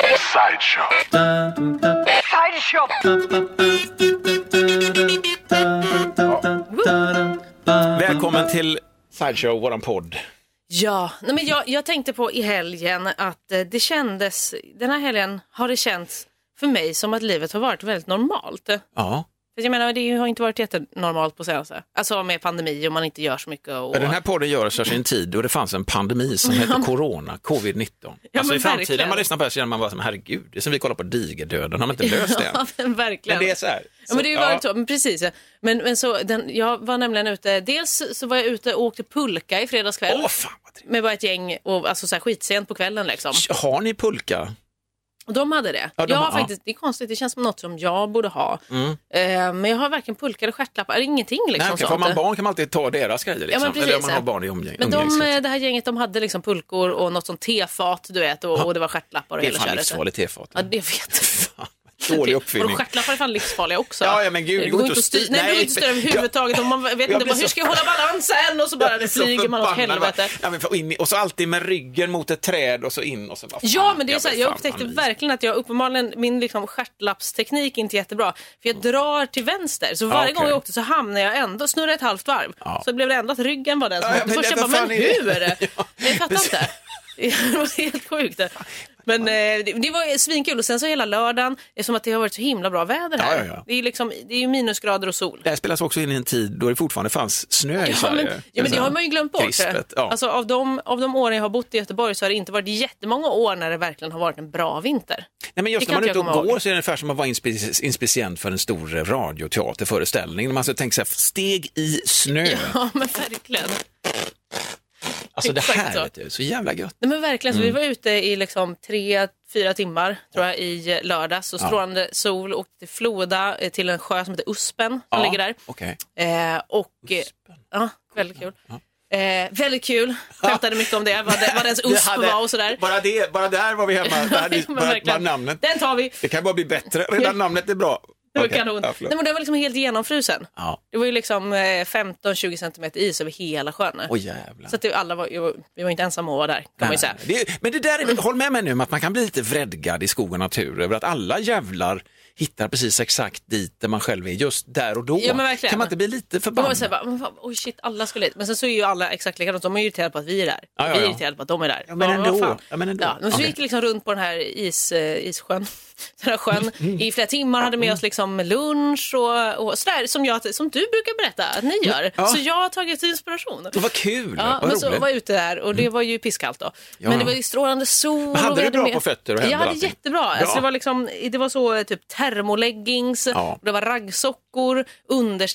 S1: Välkommen till Sideshow, våran podd.
S2: Ja, nej men jag, jag tänkte på i helgen att eh, det kändes, den här helgen har det känts för mig som att livet har varit väldigt normalt. För
S1: Ja.
S2: jag menar, det har inte varit jättenormalt på senaste. Alltså med pandemi och man inte gör så mycket. Och...
S1: Ja, Den här podden görs av sin tid då det fanns en pandemi som hette corona, covid-19. alltså i
S2: men
S1: framtiden när
S2: verkligen.
S1: man lyssnar på det här så känner man bara som herregud, det är som vi kollar på digerdöden, har man inte löst det än?
S2: Ja, men verkligen.
S1: Men det är så här.
S2: Ja, men det
S1: Så,
S2: var ja. men precis. Men, men så, den, jag var nämligen ute, dels så var jag ute och åkte pulka i fredags kväll
S1: Åh fan vad trevligt.
S2: med bara ett gäng, och, alltså så här skitsent på kvällen liksom.
S1: Har ni pulka?
S2: Och de hade det.
S1: Ja, de
S2: jag
S1: har-
S2: har faktiskt, Det är konstigt, det känns som något som jag borde ha. Eh, men jag har varken pulka eller stjärtlappar, ingenting liksom.
S1: Nej, okej, för har man
S2: sånt.
S1: barn kan man alltid ta deras grejer, liksom.
S2: men precis,
S1: eller om man har
S2: ja.
S1: barn i liksom. umgäng-
S2: men de,
S1: umgängeskrets.
S2: eh, det här gänget de hade liksom pulkor och något sånt tefat du vet och, och det var stjärtlappar och
S1: Det är
S2: hela
S1: fan
S2: köret.
S1: livsfarligt tefat.
S2: Ja, det vet
S1: Fan, Dålig
S2: Och
S1: uppfinning.
S2: stjärtlappar är fan livsfarliga också.
S1: Ja, ja, men gud,
S2: det går inte att styra.
S1: styra-
S2: Nej, det går
S1: Nej,
S2: inte att styra
S1: men-
S2: överhuvudtaget. Och man vet
S1: Jag
S2: inte
S1: blir
S2: bara,
S1: så-
S2: hur ska jag hålla balansen och så bara det
S1: Så
S2: flyger man åt
S1: förbannad, bara.
S2: helvete.
S1: Ja, men för- och in i- och så alltid med ryggen mot ett träd och så in och så bara,
S2: Ja,
S1: fan,
S2: men det är så här,
S1: blir
S2: jag
S1: fan
S2: upptäckte
S1: panik.
S2: verkligen att jag uppenbarligen, min liksom stjärtlappsteknik är inte jättebra. För jag drar till vänster, så varje
S1: Mm. Ah, okej.
S2: gång jag åkte så hamnade jag ändå, snurrade ett halvt varv.
S1: Ja.
S2: Så det blev det ändå att ryggen var den som
S1: Ja,
S2: åkte
S1: men
S2: först.
S1: det-
S2: Jag bara,
S1: vad fan
S2: men
S1: är det?"
S2: hur?
S1: Ja,
S2: Men jag fattar
S1: precis.
S2: inte. Det var helt sjukt. Men eh, det, det var svinkul och sen så hela lördagen, eftersom att det har varit så himla bra väder här.
S1: Ja, ja, ja.
S2: Det är ju liksom, det är ju minusgrader och sol.
S1: Det här spelas också in i en tid då det fortfarande fanns snö i
S2: Ja
S1: Sverige.
S2: men, ja, men det
S1: Så-
S2: har man ju glömt bort.
S1: Krispet, ja.
S2: Alltså, av, de, av de åren jag har bott i Göteborg så har det inte varit jättemånga år när det verkligen har varit en bra vinter.
S1: Nej, men just
S2: Det
S1: när man
S2: kan
S1: är ute
S2: inte
S1: och
S2: jag komma
S1: går
S2: ihåg.
S1: så är det ungefär som att vara inspe- inspicient för en stor eh, radioteaterföreställning. När Man så tänker så här, steg i snö.
S2: Ja men verkligen.
S1: alltså det
S2: exakt
S1: här,
S2: så.
S1: vet du, så jävla gött.
S2: Nej, men verkligen. Så vi
S1: Mm.
S2: var ute i liksom tre, fyra timmar tror jag, i lördags och strålande sol. Åkte till Floda, eh, till en sjö som heter Uspen som
S1: Ja,
S2: ligger där.
S1: okej.
S2: Eh, och, eh, ja, väldigt kul. Eh, väldigt kul. Skämtade mycket om det, vad, det, vad ens usp
S1: hade-
S2: var och sådär.
S1: Bara, det, bara där var vi hemma, det hade,
S2: Men
S1: bara, bara
S2: verkligen.
S1: namnet.
S2: Den tar vi.
S1: Det kan bara bli bättre, redan namnet är bra.
S2: Det var
S1: Okej,
S2: kanon.
S1: ja,
S2: Nej,
S1: förlåt.
S2: men den var liksom helt genomfrusen.
S1: Ja.
S2: Det var ju liksom eh, 15-20 centimeter is över hela sjön.
S1: Åh jävlar.
S2: Så att det, alla var, jag var- vi var inte ensamma om att vara där, kan man ju säga.
S1: Det, men det där, är väl- håll med mig nu om att man kan bli lite vredgad i skog och natur över att alla jävlar hittar precis exakt dit där man själv är just där och då.
S2: Ja, men verkligen.
S1: Kan man inte bli lite
S2: Man var
S1: förbannad?
S2: så här, bara, men fan, oj shit, alla skulle hit. Men sen så är ju alla exakt likadant. De är irriterade på att vi är där.
S1: Ja, ja,
S2: Vi är
S1: ja.
S2: irriterade på att de är där.
S1: Ja, men
S2: vad
S1: ändå.
S2: fan.
S1: Ja, men ändå.
S2: men så vi
S1: Okej.
S2: gick liksom runt på den här is, eh, issjön, den här sjön i flera timmar. Hade med oss liksom lunch och, och sådär som, jag, som du brukar berätta att ni gör.
S1: Ja.
S2: Så jag har tagit inspiration.
S1: Det var kul,
S2: Ja,
S1: vad
S2: men
S1: roligt.
S2: så
S1: Mm.
S2: var jag ute där och det var ju pisskallt då. Men det var ju strålande sol.
S1: hade
S2: och vi
S1: du bra
S2: med-
S1: på fötter och händer
S2: Jag
S1: och
S2: hade
S1: allting?
S2: jättebra. Alltså,
S1: Bra.
S2: det, var liksom, det var så eh, typ termoleggings,
S1: Ja.
S2: det var raggsockor,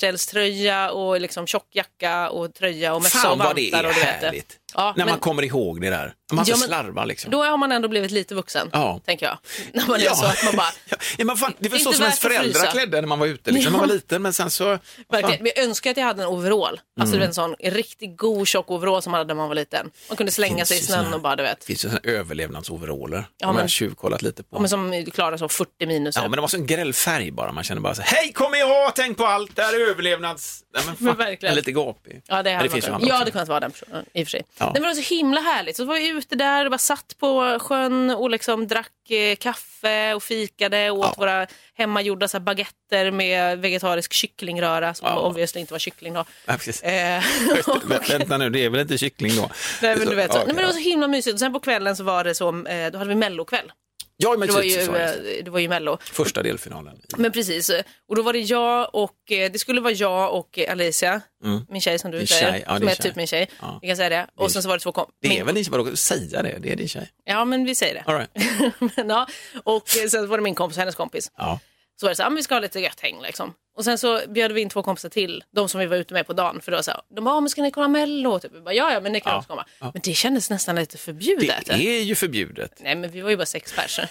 S2: underställströja och liksom tjockjacka och tröja och mössa och
S1: Fan
S2: vantar.
S1: vad det är
S2: och du vet det.
S1: härligt.
S2: Ja,
S1: När man
S2: men
S1: kommer ihåg det där. Man inte
S2: Ja, men-
S1: slarvar liksom.
S2: då har man ändå blivit lite vuxen,
S1: Ja.
S2: tänker jag. När man är så att man bara...
S1: ja, men fan, det var
S2: Inte
S1: så som ens
S2: värt att
S1: föräldrar
S2: frysa.
S1: klädde när man var ute. Liksom. När Man var liten men sen så...
S2: Verkligen. Men jag önskar att jag hade en overall. Alltså
S1: Mm.
S2: du vet, en sån riktigt god tjock overall som man hade när man var liten. Man kunde slänga
S1: Finns
S2: sig i
S1: ju
S2: snön
S1: såna-
S2: och bara, du vet.
S1: Det finns ju sådana överlevnadsoveraller. Ja,
S2: men-
S1: men... tjuvkollat lite på.
S2: Ja, men som klarar så 40 minus.
S1: Ja, men det var så en gräll färg bara. Man kände bara så här, hej kom ihåg, tänk på allt, det här är överlevnads... Nej, men fan,
S2: Men verkligen.
S1: jag är lite gapig.
S2: Ja, det,
S1: Men
S2: hade
S1: finns ju
S2: varit-
S1: andra
S2: jag
S1: också.
S2: hade kunnat vara den personen i och för sig.
S1: Ja.
S2: Nej, men det var så himla härligt. Så var vi ute där och bara satt på sjön och liksom drack eh, kaffe och fikade och åt
S1: Ja.
S2: våra hemmagjorda så här, baguetter med vegetarisk kycklingröra som
S1: Ja.
S2: obviously inte var kyckling då.
S1: Ja, precis.
S2: Eh,
S1: Vä- Vänta nu, det är väl inte kyckling då?
S2: Nej, men du vet, så.
S1: ja,
S2: Nej, men alltså, det var så himla mysigt. Och sen på kvällen så var det så, eh, då hade vi mellokväll.
S1: Ja, men
S2: Det var
S1: precis,
S2: ju,
S1: så var det.
S2: eh, det var ju mello.
S1: Första delfinalen.
S2: Men precis, eh, och då var det jag och, eh, det skulle vara jag och eh, Alicia, min tjej som du
S1: Din
S2: säger,
S1: Mm. tjej, ja,
S2: som
S1: din
S2: är
S1: tjej.
S2: typ min tjej.
S1: Ja.
S2: Vi kan säga det. Och sen så var det två kom-
S1: Det
S2: min-
S1: är väl din vadå, säga det, det är din tjej.
S2: Ja, men vi säger det.
S1: All right.
S2: men, ja. Och eh, sen var det min kompis och hennes kompis.
S1: ja.
S2: Så var det så här, "Ah, men vi ska ha lite gött häng liksom. Och sen så bjöd vi in två kompisar till, de som vi var ute med på dagen. För då sa de, bara, "Ah, men ska ni kolla mello? Typ. Vi bara, ja, ja, men ni kan
S1: Ja.
S2: också komma.
S1: Ja.
S2: Men det kändes nästan lite förbjudet.
S1: Det är ju förbjudet.
S2: Nej, men vi var ju bara sex personer.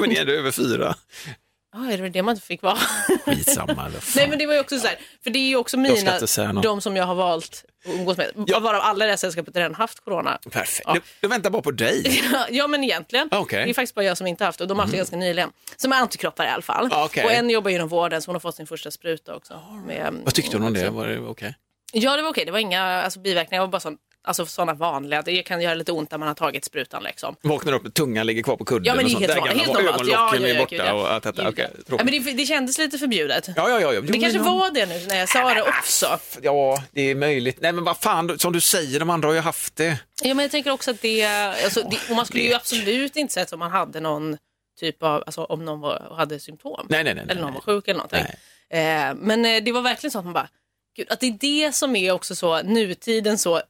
S1: Men ni är ändå över fyra.
S2: Ja, är det det man inte fick vara?
S1: Skitsamma. vad fan.
S2: Nej, men det var ju också så här, för det är ju också
S1: Jag ska
S2: mina,
S1: inte säga något.
S2: de som jag har valt att umgås med. Varav alla i det här sällskapet redan haft corona.
S1: Perfekt.
S2: Ja.
S1: Ja. Jag väntar bara på dig.
S2: Ja, men egentligen.
S1: Okej. Mhm.
S2: Det är faktiskt bara jag som inte haft det och de har haft det ganska nyligen. Som är antikroppar i alla fall.
S1: Ah, Okej.
S2: Och en jobbar inom vården så hon har fått sin första spruta också. Med,
S1: Vad tyckte hon om det? Var det okej?
S2: Ja, det var okej. Det var inga alltså, biverkningar. Det var bara sån, alltså, sådana vanliga. Det kan göra lite ont när man har tagit sprutan liksom.
S1: Vaknar upp, tungan ligger kvar på kudden
S2: Ja, men
S1: och
S2: det är
S1: sånt där
S2: helt, van,
S1: gamla-
S2: helt normalt. Ja,
S1: Ögonlocken
S2: ja,
S1: är
S2: ja,
S1: borta
S2: gud,
S1: och
S2: ja.
S1: att
S2: Gud,
S1: detta, okej.
S2: ja,
S1: tråkigt.
S2: men det, det kändes lite förbjudet.
S1: Ja, ja, ja. Jo,
S2: Det
S1: men
S2: kanske
S1: ja.
S2: var det nu när jag sa det också.
S1: Ja, det är möjligt. Nej, men vad fan, som du säger, de andra har ju haft det.
S2: Ja, men jag tänker också att det, alltså, det och man skulle ju absolut inte sett om man hade någon typ av, alltså om någon var, hade symptom.
S1: Nej, nej, nej. nej.
S2: eller någon var sjuk eller någonting. Eh, men eh, det var verkligen så att man bara, gud, att det är det som är också så nutiden så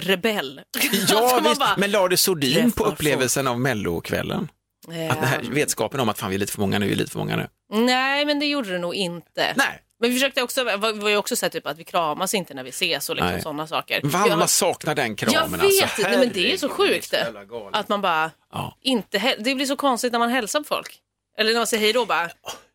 S2: rebell.
S1: Ja,
S2: Alltså, man
S1: visst.
S2: bara,
S1: Men la det sordin
S2: Träffar
S1: på upplevelsen av mellokvällen?
S2: eh,
S1: Att det här, vetskapen om att fan, vi är lite för många nu, vi är lite för många nu.
S2: Nej, men det gjorde det nog inte.
S1: Nej,
S2: Men vi försökte också, var, var ju också så här, typ, att vi kramas inte när vi ses och liksom
S1: Nej.
S2: sådana saker.
S1: fan
S2: Jag-
S1: vad man saknar den kramen.
S2: Jag vet
S1: alltså.
S2: inte. Nej, men det är så
S1: Herregud,
S2: sjukt det.
S1: jävla galet.
S2: Att man bara
S1: Ja.
S2: inte... hä- Det blir så konstigt när man hälsar på folk. Eller när man säger hej då bara,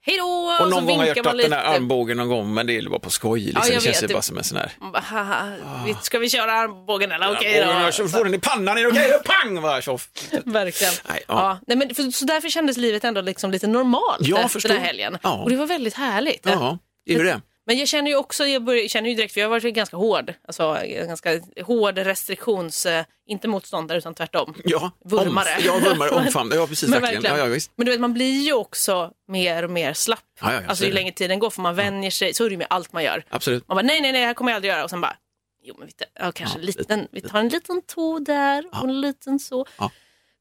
S2: hej då!
S1: Och någon gång
S2: så
S1: har jag
S2: vinkar
S1: gjort upp
S2: man
S1: den
S2: lite.
S1: här armbågen någon gång, men det var på skoj. Liksom.
S2: Ja, jag
S1: det känns
S2: vet.
S1: ju bara som en sån här...
S2: Man bara, Haha, vi- ska vi köra armbågen eller? Okej
S1: Armbågen, jag
S2: då.
S1: får den i pannan, är det okej? då? Pang! Va, tjoff.
S2: Verkligen.
S1: Nej, ja.
S2: ja. Nej, men, för, så därför kändes livet ändå liksom lite normalt
S1: Jag
S2: den
S1: förstår.
S2: här helgen.
S1: Ja.
S2: Och det var väldigt härligt.
S1: Ja, det är ju det.
S2: Men jag känner ju också, jag börjar, känner ju direkt, för jag har varit ganska hård, alltså en ganska hård restriktions, eh, inte motståndare utan tvärtom.
S1: Ja,
S2: Vurmare.
S1: Om, ja, vurmare, omfamnade. Ja, precis.
S2: Men,
S1: Mm, verkligen. Ja, ja, visst.
S2: men du vet, man blir ju också mer och mer slapp.
S1: Ja, ja, ja,
S2: alltså
S1: så
S2: ju
S1: är det.
S2: längre tiden går, för man vänjer sig. Så är det ju med allt man gör.
S1: Absolut.
S2: Man bara, nej, nej, nej, det här kommer jag aldrig göra. Och sen bara, jo, men vi, tar, ja, kanske en
S1: Ja, lite-
S2: liten, vi tar en liten tå där och en liten så.
S1: Ja.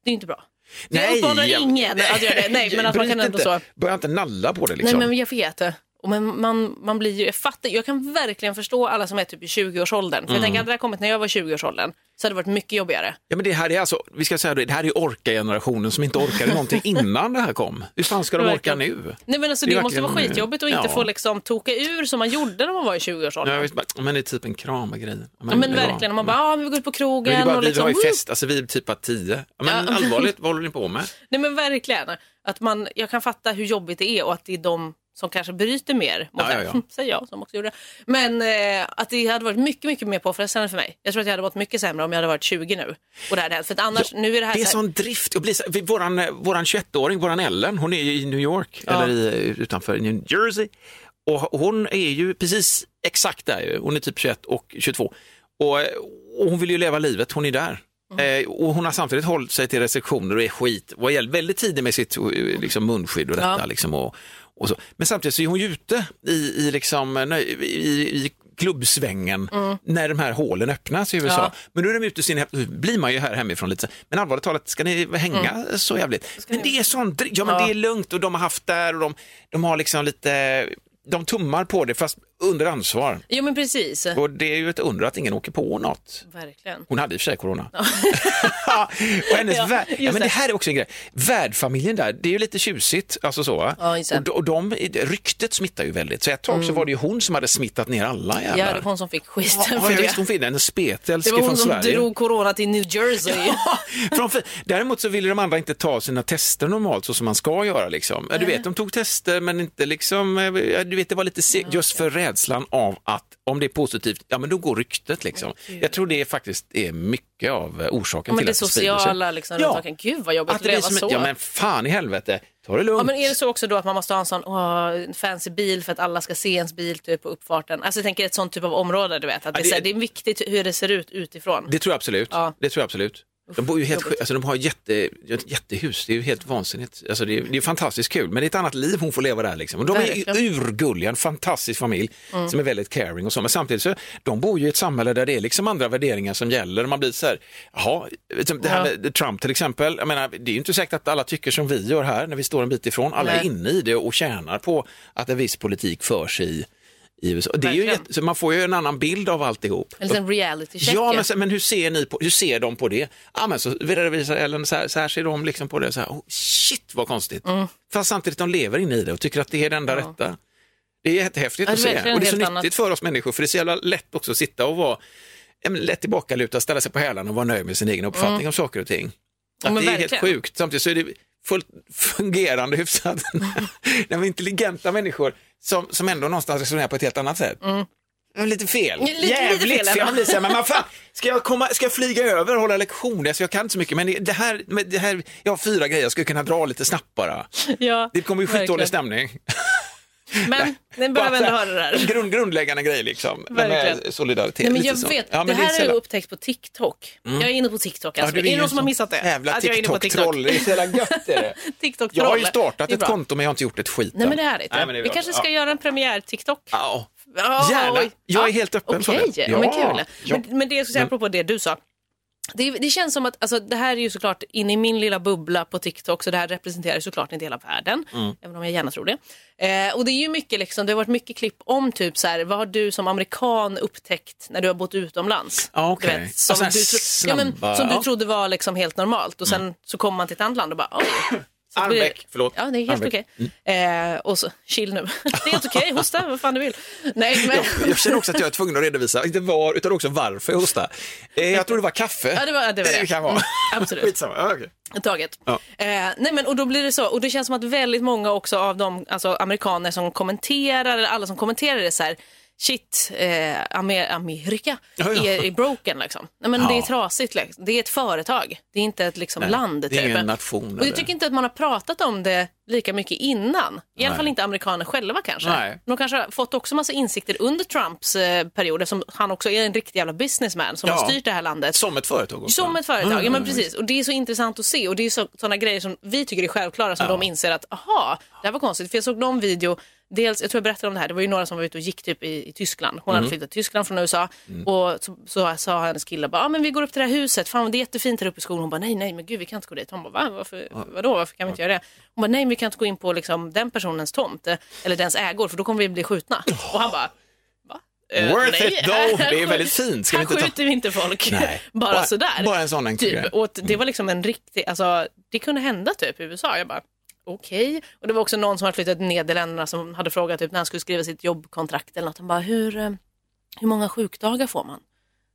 S2: Det är ju inte bra.
S1: Nej,
S2: jag uppmanar
S1: jag-
S2: ingen att göra det. Nej, men att man
S1: Bryt
S2: kan ändå
S1: inte.
S2: så.
S1: Börja inte nalla på det
S2: Nej,
S1: liksom.
S2: men jag vet det. Och men man, man blir ju, jag, fattar, jag kan verkligen förstå alla som är typ i 20-årsåldern. För
S1: Mm.
S2: jag tänker, hade det här kommit när jag var i 20-årsåldern så hade det varit mycket jobbigare.
S1: Ja, men det här är alltså, vi ska säga det, det här är orka-generationen som inte orkade någonting innan det här kom. Hur fan ska de orka
S2: Verkligen.
S1: nu?
S2: Nej, men alltså,
S1: Det
S2: det
S1: är
S2: måste vara
S1: verkligen-
S2: skitjobbigt att inte
S1: ja.
S2: få liksom, toka ur som man gjorde när man var i 20-årsåldern.
S1: Ja, visst, bara, men det är typ en kram och grejen.
S2: Ja, men verkligen, om man bara, ja, men vi går ut på
S1: Men det är
S2: krogen
S1: bara,
S2: och
S1: vi
S2: liksom,
S1: har ju
S2: woo!
S1: fest, alltså vi är typ att tio. Ja, men
S2: "Mm."
S1: allvarligt, vad håller ni på med?
S2: Nej men verkligen, att man, jag kan fatta hur jobbigt det är och att det är de som kanske bryter mer mot
S1: Ja, ja,
S2: det,
S1: ja.
S2: säger jag som också gjorde det. Men eh, att det hade varit mycket, mycket mer påfrestande för mig. Jag tror att jag hade varit mycket sämre om jag hade varit 20 nu. Och det hade hänt. För att annars, nu är det här,
S1: Det är
S2: så här
S1: sån drift. Och blir så, vi- våran eh, våran 21-åring, våran Ellen, hon är ju i New York
S2: Ja.
S1: eller i, eh, utanför New Jersey. Och hon är ju precis exakt där, ju. hon är typ 21 och 22. Och, eh, och hon vill ju leva livet, hon är där.
S2: Mm.
S1: Eh, och hon har samtidigt hållit sig till restriktioner och är skit, och är väldigt tidig med sitt eh, liksom, munskydd och detta.
S2: Ja.
S1: Liksom, och, och så. Men samtidigt så är hon ju ute i, i, liksom, eh, nöj- i, i klubbsvängen
S2: Mm.
S1: när de här hålen öppnas i USA.
S2: Ja.
S1: Men nu är de ute i sin, nu blir man ju här hemifrån lite, så- men allvarligt talat, ska ni hänga
S2: Mm.
S1: så jävligt? Men det är sånt, dri- ja men
S2: Ja.
S1: det är lugnt och de har haft där och de, de har liksom lite, de tummar på det fast under ansvar.
S2: Jo men precis,
S1: Och det är ju ett under att ingen åker på något.
S2: verkligen.
S1: Hon hade i och för sig corona. och hennes
S2: Ja,
S1: värld, ja, men
S2: just det.
S1: det här är också en grej. Värdfamiljen där, det är ju lite tjusigt. Alltså så, va?
S2: Ja, just det. Mm.
S1: och, de- och de, ryktet smittar ju väldigt. Så ett tag så var det ju hon som hade smittat ner alla
S2: Ja,
S1: jävlar.
S2: det var hon som fick skiten
S1: Ja,
S2: för
S1: ja,
S2: det.
S1: visst, hon finner en
S2: Det
S1: spetälske
S2: var
S1: från
S2: hon som
S1: Sverige.
S2: drog corona till New Jersey.
S1: Från fi- Däremot så ville de andra inte ta sina tester normalt så som man ska göra. Liksom. Du vet, de tog tester men inte liksom, eh, du vet, det var lite segt just för rädslan av att om det är positivt, ja men då går ryktet liksom. Jag tror det är faktiskt är mycket av eh, orsaken
S2: Ja,
S1: till
S2: men det
S1: att det sprider sig.
S2: sociala liksom, runt omkring. Gud vad jobbigt att,
S1: det blir
S2: leva
S1: som,
S2: så.
S1: Ja men fan i helvete, ta det lugnt.
S2: Ja, men är det så också då att man måste ha en sån åh, en fancy bil för att alla ska se ens bil typ på uppfarten? Alltså jag tänker ett sånt typ av område du vet. Att
S1: Ja,
S2: det, är
S1: det-
S2: så här, det är viktigt hur det ser ut utifrån.
S1: Det tror jag absolut.
S2: Ja.
S1: Det tror jag absolut. De bor ju helt,
S2: jobbigt.
S1: alltså de har jätte, ett jättehus, det är ju helt vansinnigt. Alltså det, är, det är fantastiskt kul, men det är ett annat liv hon får leva där. Liksom. Och de är ju
S2: Verkligen. Mm.
S1: urgulliga, en fantastisk familj som är väldigt caring och så. Men samtidigt så, de bor ju i ett samhälle där det är liksom andra värderingar som gäller. Man blir så här, jaha, liksom det här
S2: Ja.
S1: med Trump till exempel, jag menar, det är ju inte säkert att alla tycker som vi gör här när vi står en bit ifrån. Alla är
S2: Nej.
S1: inne i det och tjänar på att en viss politik förs i, i USA. Och Det är ju,
S2: Verkligen.
S1: jätte- så man får ju en annan bild av alltihop.
S2: En liten reality check.
S1: Ja, men, sen- men hur, ser ni på, hur ser de på det? Ja, men så redovisar Ellen, så här, så här ser de liksom på det. Så här, oh, shit vad konstigt.
S2: Mm.
S1: Fast samtidigt de lever inne i det och tycker att det är det enda rätta. Det är jättehäftigt
S2: Ja,
S1: att
S2: det
S1: se
S2: är verkligen
S1: och det är så
S2: helt
S1: nyttigt
S2: annat.
S1: för oss människor för det är så jävla lätt också att sitta och vara ja, men lätt tillbakalutad, ställa sig på hälarna och vara nöjd med sin egen uppfattning om saker och ting.
S2: Mm. Ja,
S1: Att
S2: men
S1: det är helt
S2: verkligen.
S1: sjukt. Samtidigt så är det fullt fungerande hyfsat. när vi är intelligenta människor som, som ändå någonstans resonerar på ett helt annat sätt. Men Lite fel.
S2: Lite- lite
S1: Jävligt
S2: fel,
S1: fel.
S2: Emma.
S1: Man blir så här, men vad fan, ska jag, komma, ska jag flyga över och hålla lektion? Alltså, jag kan inte så mycket, men det här, men det här, jag har fyra grejer jag skulle kunna dra lite snabbt bara.
S2: Ja,
S1: Det kommer ju
S2: verkligen.
S1: skitdålig stämning.
S2: Men ni behöver
S1: Bara
S2: ändå
S1: så
S2: höra
S1: här,
S2: det här.
S1: Grund, grundläggande grej liksom. Det
S2: Verkligen.
S1: med solidaritet.
S2: Nej, men
S1: lite
S2: jag
S1: så.
S2: vet,
S1: Ja, men
S2: det här
S1: är
S2: har
S1: så
S2: jag
S1: jävla-
S2: upptäckt på TikTok. Jag är inne på TikTok
S1: Ja,
S2: alltså.
S1: du
S2: är det
S1: ju
S2: någon
S1: en
S2: som har
S1: sån
S2: missat det?
S1: Jävla
S2: Att jag är inne på
S1: TikTok-troll, det är så jävla gött är det.
S2: TikTok-troll.
S1: Jag har ju startat
S2: Det är
S1: ett
S2: bra.
S1: konto men jag har inte gjort ett skit
S2: Nej
S1: än.
S2: men det är det inte.
S1: Nej, men
S2: Vi
S1: bra.
S2: kanske ska
S1: Ja.
S2: göra en premiär-TikTok.
S1: Ja.
S2: Ja,
S1: Gärna.
S2: oj.
S1: Jag är helt öppen för
S2: Okej,
S1: det.
S2: Ja, men
S1: Ja,
S2: kul.
S1: ja.
S2: Men, men det jag skulle säga apropå det du sa. Det, det känns som att, alltså, det här är ju såklart in i min lilla bubbla på TikTok så det här representerar ju såklart inte hela världen.
S1: Mm.
S2: Även om jag gärna tror det. Eh, och det är ju mycket liksom, det har varit mycket klipp om typ så här, vad har du som amerikan upptäckt när du har bott utomlands?
S1: Ja, okej.
S2: Du vet, som,
S1: Alltså,
S2: du, tro-
S1: snabba-
S2: ja, men, som
S1: ja. Mm.
S2: du trodde var liksom helt normalt och sen så kommer man till ett annat land och bara oj. Så det blir-
S1: Armbäck, förlåt.
S2: Ja, det är helt
S1: Armbäck.
S2: okej. Eh, och så, chill nu. Det är helt okej, hosta vad fan du vill. Nej, men...
S1: Jag, jag känner också att jag är tvungen att redovisa, inte var, utan också varför jag hostar. Eh, jag tror det var kaffe.
S2: Ja, det var det. Var det.
S1: kan vara.
S2: Mm, absolut.
S1: Skitsamma. Ja, okej.
S2: Taget.
S1: Ja.
S2: Eh, nej men, och då blir det så. Och det känns som att väldigt många också av de alltså, amerikaner som kommenterar, eller alla som kommenterar det så här, shit, eh, Amer- Amerika
S1: Ja, ja.
S2: Är, är broken liksom. Nej, men
S1: Ja.
S2: Det är trasigt, liksom. det är ett företag, det är inte ett liksom,
S1: Nej,
S2: land.
S1: det är
S2: typ.
S1: ingen nation
S2: Och jag
S1: eller-
S2: tycker inte att man har pratat om det lika mycket innan. I alla
S1: Nej.
S2: fall inte amerikaner själva kanske.
S1: Nej.
S2: De kanske har fått också massa insikter under Trumps eh, period, som han också är en riktig jävla businessman som
S1: Ja.
S2: har styrt det här landet.
S1: Som ett företag också. Mm,
S2: Som ett företag, ja men
S1: visst.
S2: precis. Och det är så intressant att se och det är så, sådana grejer som vi tycker är självklara som de inser att, aha, det här var konstigt. För jag såg någon video, dels, jag tror jag berättade om det här, det var ju några som var ute och gick typ i, i Tyskland. Hon
S1: Mm.
S2: hade flyttat till Tyskland från USA och så, så sa hennes kille bara, ah, men vi går upp till det här huset, fan det är jättefint här uppe i skogen. Hon bara, nej, nej, men gud vi kan inte gå dit. Han bara, Va? Varför, vadå, varför kan vi inte göra det? Hon bara, nej, men vi kan inte gå in på liksom, den personens tomt eh, eller dens ägor för då kommer vi bli skjutna. Och han bara, Eh,
S1: Worth
S2: nej.
S1: it though! Det är väldigt fint. Ska vi
S2: här
S1: inte ta...
S2: skjuter vi inte folk
S1: Nej.
S2: bara
S1: Bara-
S2: sådär.
S1: bara en sån enkel grej. Mm.
S2: typ. och Det var liksom en riktig, alltså, det kunde hända typ i USA. Jag bara, okej. Och det var också någon som hade flyttat till Nederländerna som hade frågat typ, när han skulle skriva sitt jobbkontrakt eller något. Han bara, hur, eh, hur många sjukdagar får man?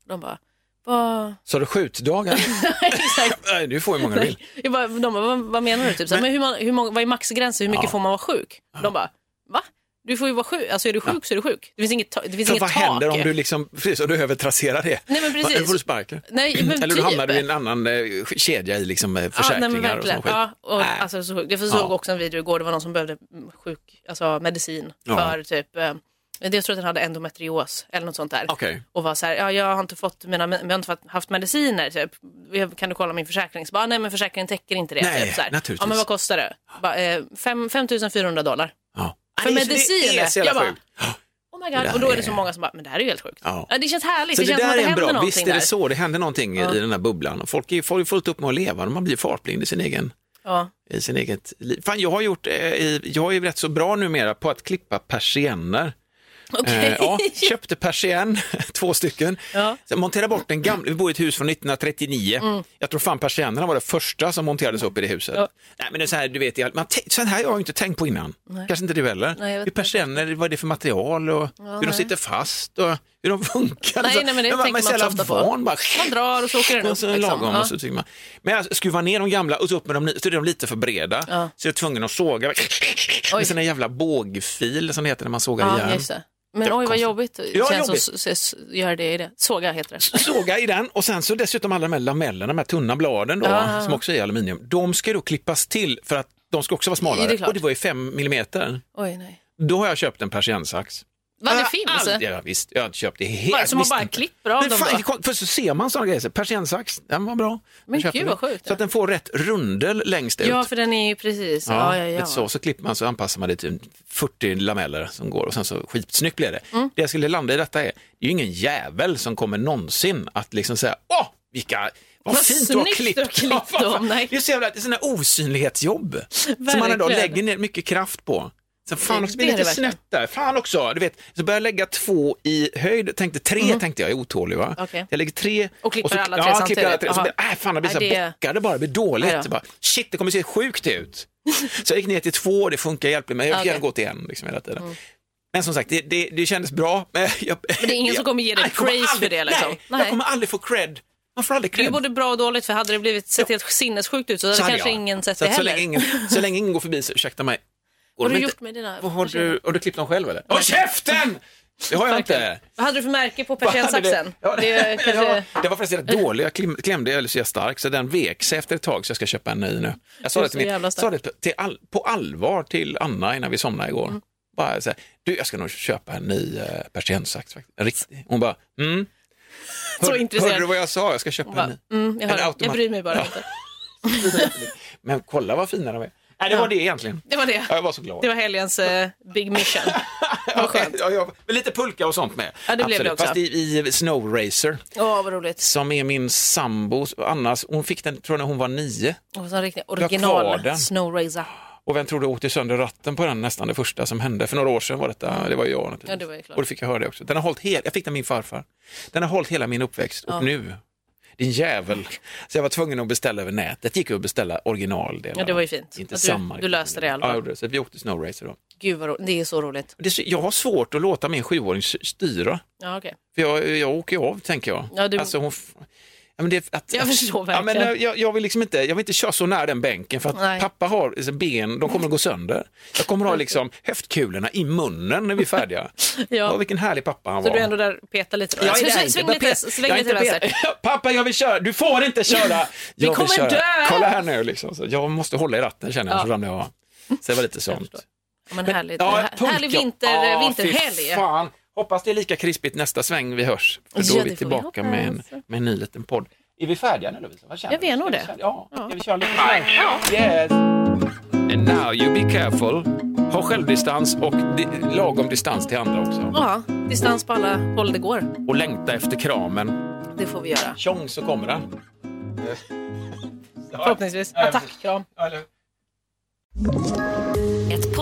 S2: De bara, vad...
S1: Så har du skjutdagar?
S2: Exakt.
S1: Nej, du får hur många du vill.
S2: Jag bara, de bara, vad, vad menar du? Typ, så här, men hur, man, hur många, vad är maxgränsen? Hur mycket får man vara sjuk? De bara, Va? Du får ju vara sjuk. Alltså är du sjuk så är du sjuk. Det finns inget, ta- det finns
S1: För
S2: inget
S1: vad
S2: tak.
S1: händer om du liksom, precis, och du övertrasserar det?
S2: Nej, men precis.
S1: Va, Får du sparken?
S2: Nej, men
S1: Eller du
S2: typ.
S1: hamnar du i en annan eh, kedja i liksom, eh,
S2: ja, nej, men
S1: försäkringar och
S2: verkligen.
S1: sån skit?
S2: Ja, och,
S1: Nej.
S2: alltså, så sjukt. Jag såg
S1: Ja.
S2: också en video igår, det var någon som behövde mm, sjuk, alltså, medicin
S1: Ja.
S2: för typ, eh, jag tror att den hade endometrios eller något sånt där.
S1: Okej.
S2: Och var så här, ja, jag har inte fått mina, men jag har inte fått- haft mediciner, typ. Jag- kan du kolla min försäkring? Så bara, nej men försäkringen täcker inte det.
S1: Nej,
S2: typ, så här.
S1: naturligtvis.
S2: Ja men vad kostar det? Bara, eh, fem- 5 400 dollar.
S1: Ja.
S2: För
S1: Nej, så Det är
S2: mediciner.
S1: så jävla
S2: Jag bara,
S1: sjukt.
S2: Oh my
S1: Det där
S2: god. Och då är
S1: är-
S2: det så många som bara, men det här är ju helt sjukt.
S1: Ja.
S2: Ja. det känns härligt,
S1: Så
S2: det,
S1: det,
S2: känns som
S1: där
S2: att det
S1: är en
S2: händer
S1: bra,
S2: någonting
S1: visst är
S2: där.
S1: det så, det händer någonting i den här bubblan. Folk är- får ju fullt upp med att leva, man blir fartblind i sin egen
S2: Ja.
S1: i sin eget liv. Fan, jag har gjort, eh, i- jag är ju rätt så bra numera på att klippa persienner.
S2: Okej.
S1: Eh, ja, köpte persien, två stycken.
S2: Ja. Mm.
S1: Sen monterade bort den gamla, vi bor i ett hus från 1939. Jag tror fan persiennerna var det första som monterades upp i det huset.
S2: Ja.
S1: Nej men det är så här, du vet, jag, man, tän- så här har jag inte tänkt på innan. Kanske inte du heller.
S2: Nej, jag vet
S1: hur persienner, vad är det för material och hur de
S2: nej.
S1: sitter fast och hur de funkar. Alltså,
S2: Nej,
S1: Så-
S2: nej, men det
S1: jag bara-
S2: tänker
S1: är så
S2: man
S1: jävla
S2: inte så ofta på.
S1: van, bara,
S2: Man drar och så åker den
S1: och
S2: upp.
S1: så Alltså, lagom
S2: liksom.
S1: och så tycker man. Men jag skruvar ner de gamla och så upp med de nya, så är de lite för breda.
S2: Ja.
S1: Så jag är tvungen att såga med sån här jävla bågfil som det heter när man sågar
S2: Ja,
S1: järn.
S2: just det. Men
S1: Det
S2: oj vad
S1: kostar-
S2: jobbigt.
S1: Ja,
S2: Känns
S1: jobbigt.
S2: Som, s- s- gör det i det. Såga heter det.
S1: Såga i den och sen så dessutom alla de här lamellerna, de här tunna bladen då,
S2: Ja.
S1: som också är i aluminium, de ska då klippas till för att de ska också vara
S2: Ja,
S1: smalare.
S2: det är klart.
S1: och det var ju 5 millimeter.
S2: Oj nej.
S1: Då har jag köpt en persiensax.
S2: Vad
S1: Jag
S2: det
S1: har
S2: finns?
S1: aldrig- Ja, visst, jag har köpt det helt.
S2: Bara, så man
S1: visste
S2: bara
S1: inte.
S2: klipper av
S1: Men
S2: dem
S1: fan,
S2: då?
S1: För så ser man sådana grejer, persiensax, den var bra. Jag
S2: Men
S1: köpte
S2: gud,
S1: den.
S2: vad sjukt.
S1: Så att den får rätt rundel längst ut.
S2: Ja, för den är ju precis.
S1: Ja,
S2: Ja, ja, ja.
S1: lite Så, så klipper man så anpassar man det till 40 lameller som går och sen så skitsnyggt blir det. Det jag skulle landa i detta är, det är ju ingen jävel som kommer någonsin att liksom säga, åh, vilka, vad,
S2: Vad
S1: fint du har
S2: snyggt
S1: klippt.
S2: du har klippt
S1: Ja, vad fan.
S2: dem, nej.
S1: Det är så jävla, det är sådana osynlighetsjobb som man idag
S2: Verkligen.
S1: lägger ner mycket kraft på. Sen fan
S2: Det-
S1: också, det blir
S2: det är
S1: lite
S2: det verkligen.
S1: snett där. Fan också, du vet, så började jag lägga två i höjd, tänkte tre tänkte jag, jag är otålig va.
S2: Mm. Okej.
S1: Jag lägger tre
S2: Och klipper
S1: så,
S2: alla tre
S1: ja, klipper
S2: samtidigt.
S1: alla tre. Så
S2: Aha.
S1: blir, äh, fan, det blir så
S2: Nej,
S1: här
S2: det-
S1: backade bara, det blir dåligt.
S2: Ja.
S1: Jag bara, shit, det kommer se sjukt ut. Så jag gick ner till två och det funkar hjälpligt, men jag fick
S2: Okej. Mm.
S1: gärna gå till en liksom, hela tiden. Men som sagt, det, det, det kändes bra. Men, jag,
S2: Men det är ingen som kommer ge dig
S1: Jag kommer
S2: praise för
S1: aldrig-
S2: det, liksom.
S1: Nej, jag
S2: Nej.
S1: kommer aldrig få cred. Man får aldrig
S2: Det är
S1: cred.
S2: ju både bra och dåligt för hade det blivit sett helt sinnessjukt ut så hade
S1: Så hade
S2: kanske
S1: jag.
S2: ingen sett
S1: så
S2: det
S1: att så
S2: heller.
S1: länge, ingen, så länge ingen går förbi så ursäkta mig. Går
S2: Vad
S1: de
S2: har du
S1: inte-
S2: gjort med dina
S1: Vad har du, har du klippt dem själv eller? Håll
S2: Verkligen.
S1: käften! Det har jag inte.
S2: Vad hade du för märke på
S1: Vad hade
S2: persiensaxen?
S1: det- Ja,
S2: Det är kanske...
S1: ja, det var förresten rätt dålig. Jag klim- klämde eller så jag stark så den vek sig efter ett tag så jag ska köpa en ny nu. Jag sa
S2: Du är
S1: det,
S2: så
S1: till min,
S2: jävla
S1: sa
S2: stark.
S1: det till all, på allvar till Anna innan vi somnade igår.
S2: Mm.
S1: Bara så här, du jag ska nog köpa en ny eh, persiensax. faktiskt. En riktig. Hon bara, mm.
S2: Så
S1: Hör-
S2: intresserad.
S1: Hörde du vad jag sa? Jag ska köpa en ny.
S2: Bara, mm, jag,
S1: En
S2: hör, jag
S1: automat-
S2: bryr mig bara
S1: Ja.
S2: inte.
S1: Men kolla vad fina de är. Nej, det var det egentligen.
S2: Det var det.
S1: Ja, jag var så glad.
S2: Det var helgens eh, big mission. Vad skönt.
S1: Ja, ja, men lite pulka och sånt med.
S2: Ja, det blev det
S1: Absolut.
S2: också.
S1: Fast i, i Snow Racer,
S2: Åh, vad roligt.
S1: som är min sambos, Annas, hon fick den tror jag när hon var nio.
S2: Och så en riktig
S1: har kvar den.
S2: original Snow Razor.
S1: Och vem tror du åkte sönder ratten på den nästan det första som hände? För några år sedan var detta, det var ju jag naturligtvis.
S2: Ja, det var ju klart.
S1: Och då fick jag höra det också. Den har hållit hel, jag fick den av min farfar. Den har hållit hela min uppväxt och nu, din jävel. Så jag var tvungen att beställa över nätet, gick ju att beställa originaldelar.
S2: Ja, det var ju fint.
S1: Inte
S2: Att du-
S1: samma.
S2: du löste det i alla
S1: Ja,
S2: fall.
S1: jag gjorde det. Så vi åkte Snow Racer då.
S2: Gud vad roligt. Det är så roligt.
S1: Och Det, är så- jag har svårt att låta min sjuåring s- styra.
S2: Ja, okej.
S1: För jag, jag åker ju av, tänker jag.
S2: Ja, du-
S1: Alltså, hon... f- Ja, men det, att, alltså,
S2: Jag förstår
S1: ja, men,
S2: verkligen.
S1: jag, jag, vill liksom inte, jag vill inte köra så nära den bänken för att
S2: Nej.
S1: pappa har alltså, ben, de kommer att gå sönder. Jag kommer att ha liksom, höftkulorna i munnen när vi är färdiga. ja.
S2: Ja.
S1: vilken härlig pappa han
S2: Så
S1: var.
S2: du är ändå där och petar lite? då?
S1: Jag är
S2: Sväng-
S1: där inte,
S2: sväng
S1: men
S2: lite,
S1: Pet-
S2: sväng
S1: jag är
S2: lite
S1: inte
S2: vänster.
S1: Pet- Pappa, jag vill köra. Du får inte köra.
S2: Vi
S1: Jag vill
S2: kommer
S1: köra.
S2: dö!
S1: Kolla här nu. Liksom. Så jag måste hålla i ratten känner jag,
S2: Ja.
S1: så ramlar jag av. Så det var lite sånt.
S2: förstår. Ja, men härligt.
S1: Ja,
S2: Här- härlig
S1: pulka.
S2: vinter,
S1: Ja, fy
S2: vinterhelg.
S1: Fan. Hoppas det är lika krispigt nästa sväng vi hörs. För då
S2: Ja,
S1: är vi
S2: det får vi
S1: tillbaka
S2: hoppas.
S1: med en, med en ny liten podd. Är vi färdiga nu Lovisa? Vad känner
S2: Ja, vi är nog
S1: Ska
S2: det.
S1: köra- Ja, ska vi köra lite snabbt? Yes. And now you be careful. Ha självdistans och di- lagom distans till andra också.
S2: Ja, distans på alla håll det går.
S1: Och längta efter kramen.
S2: Det får vi göra.
S1: Tjong så kommer den.
S2: Förhoppningsvis.
S1: Ja, ja,
S2: Attackkram.
S3: Ett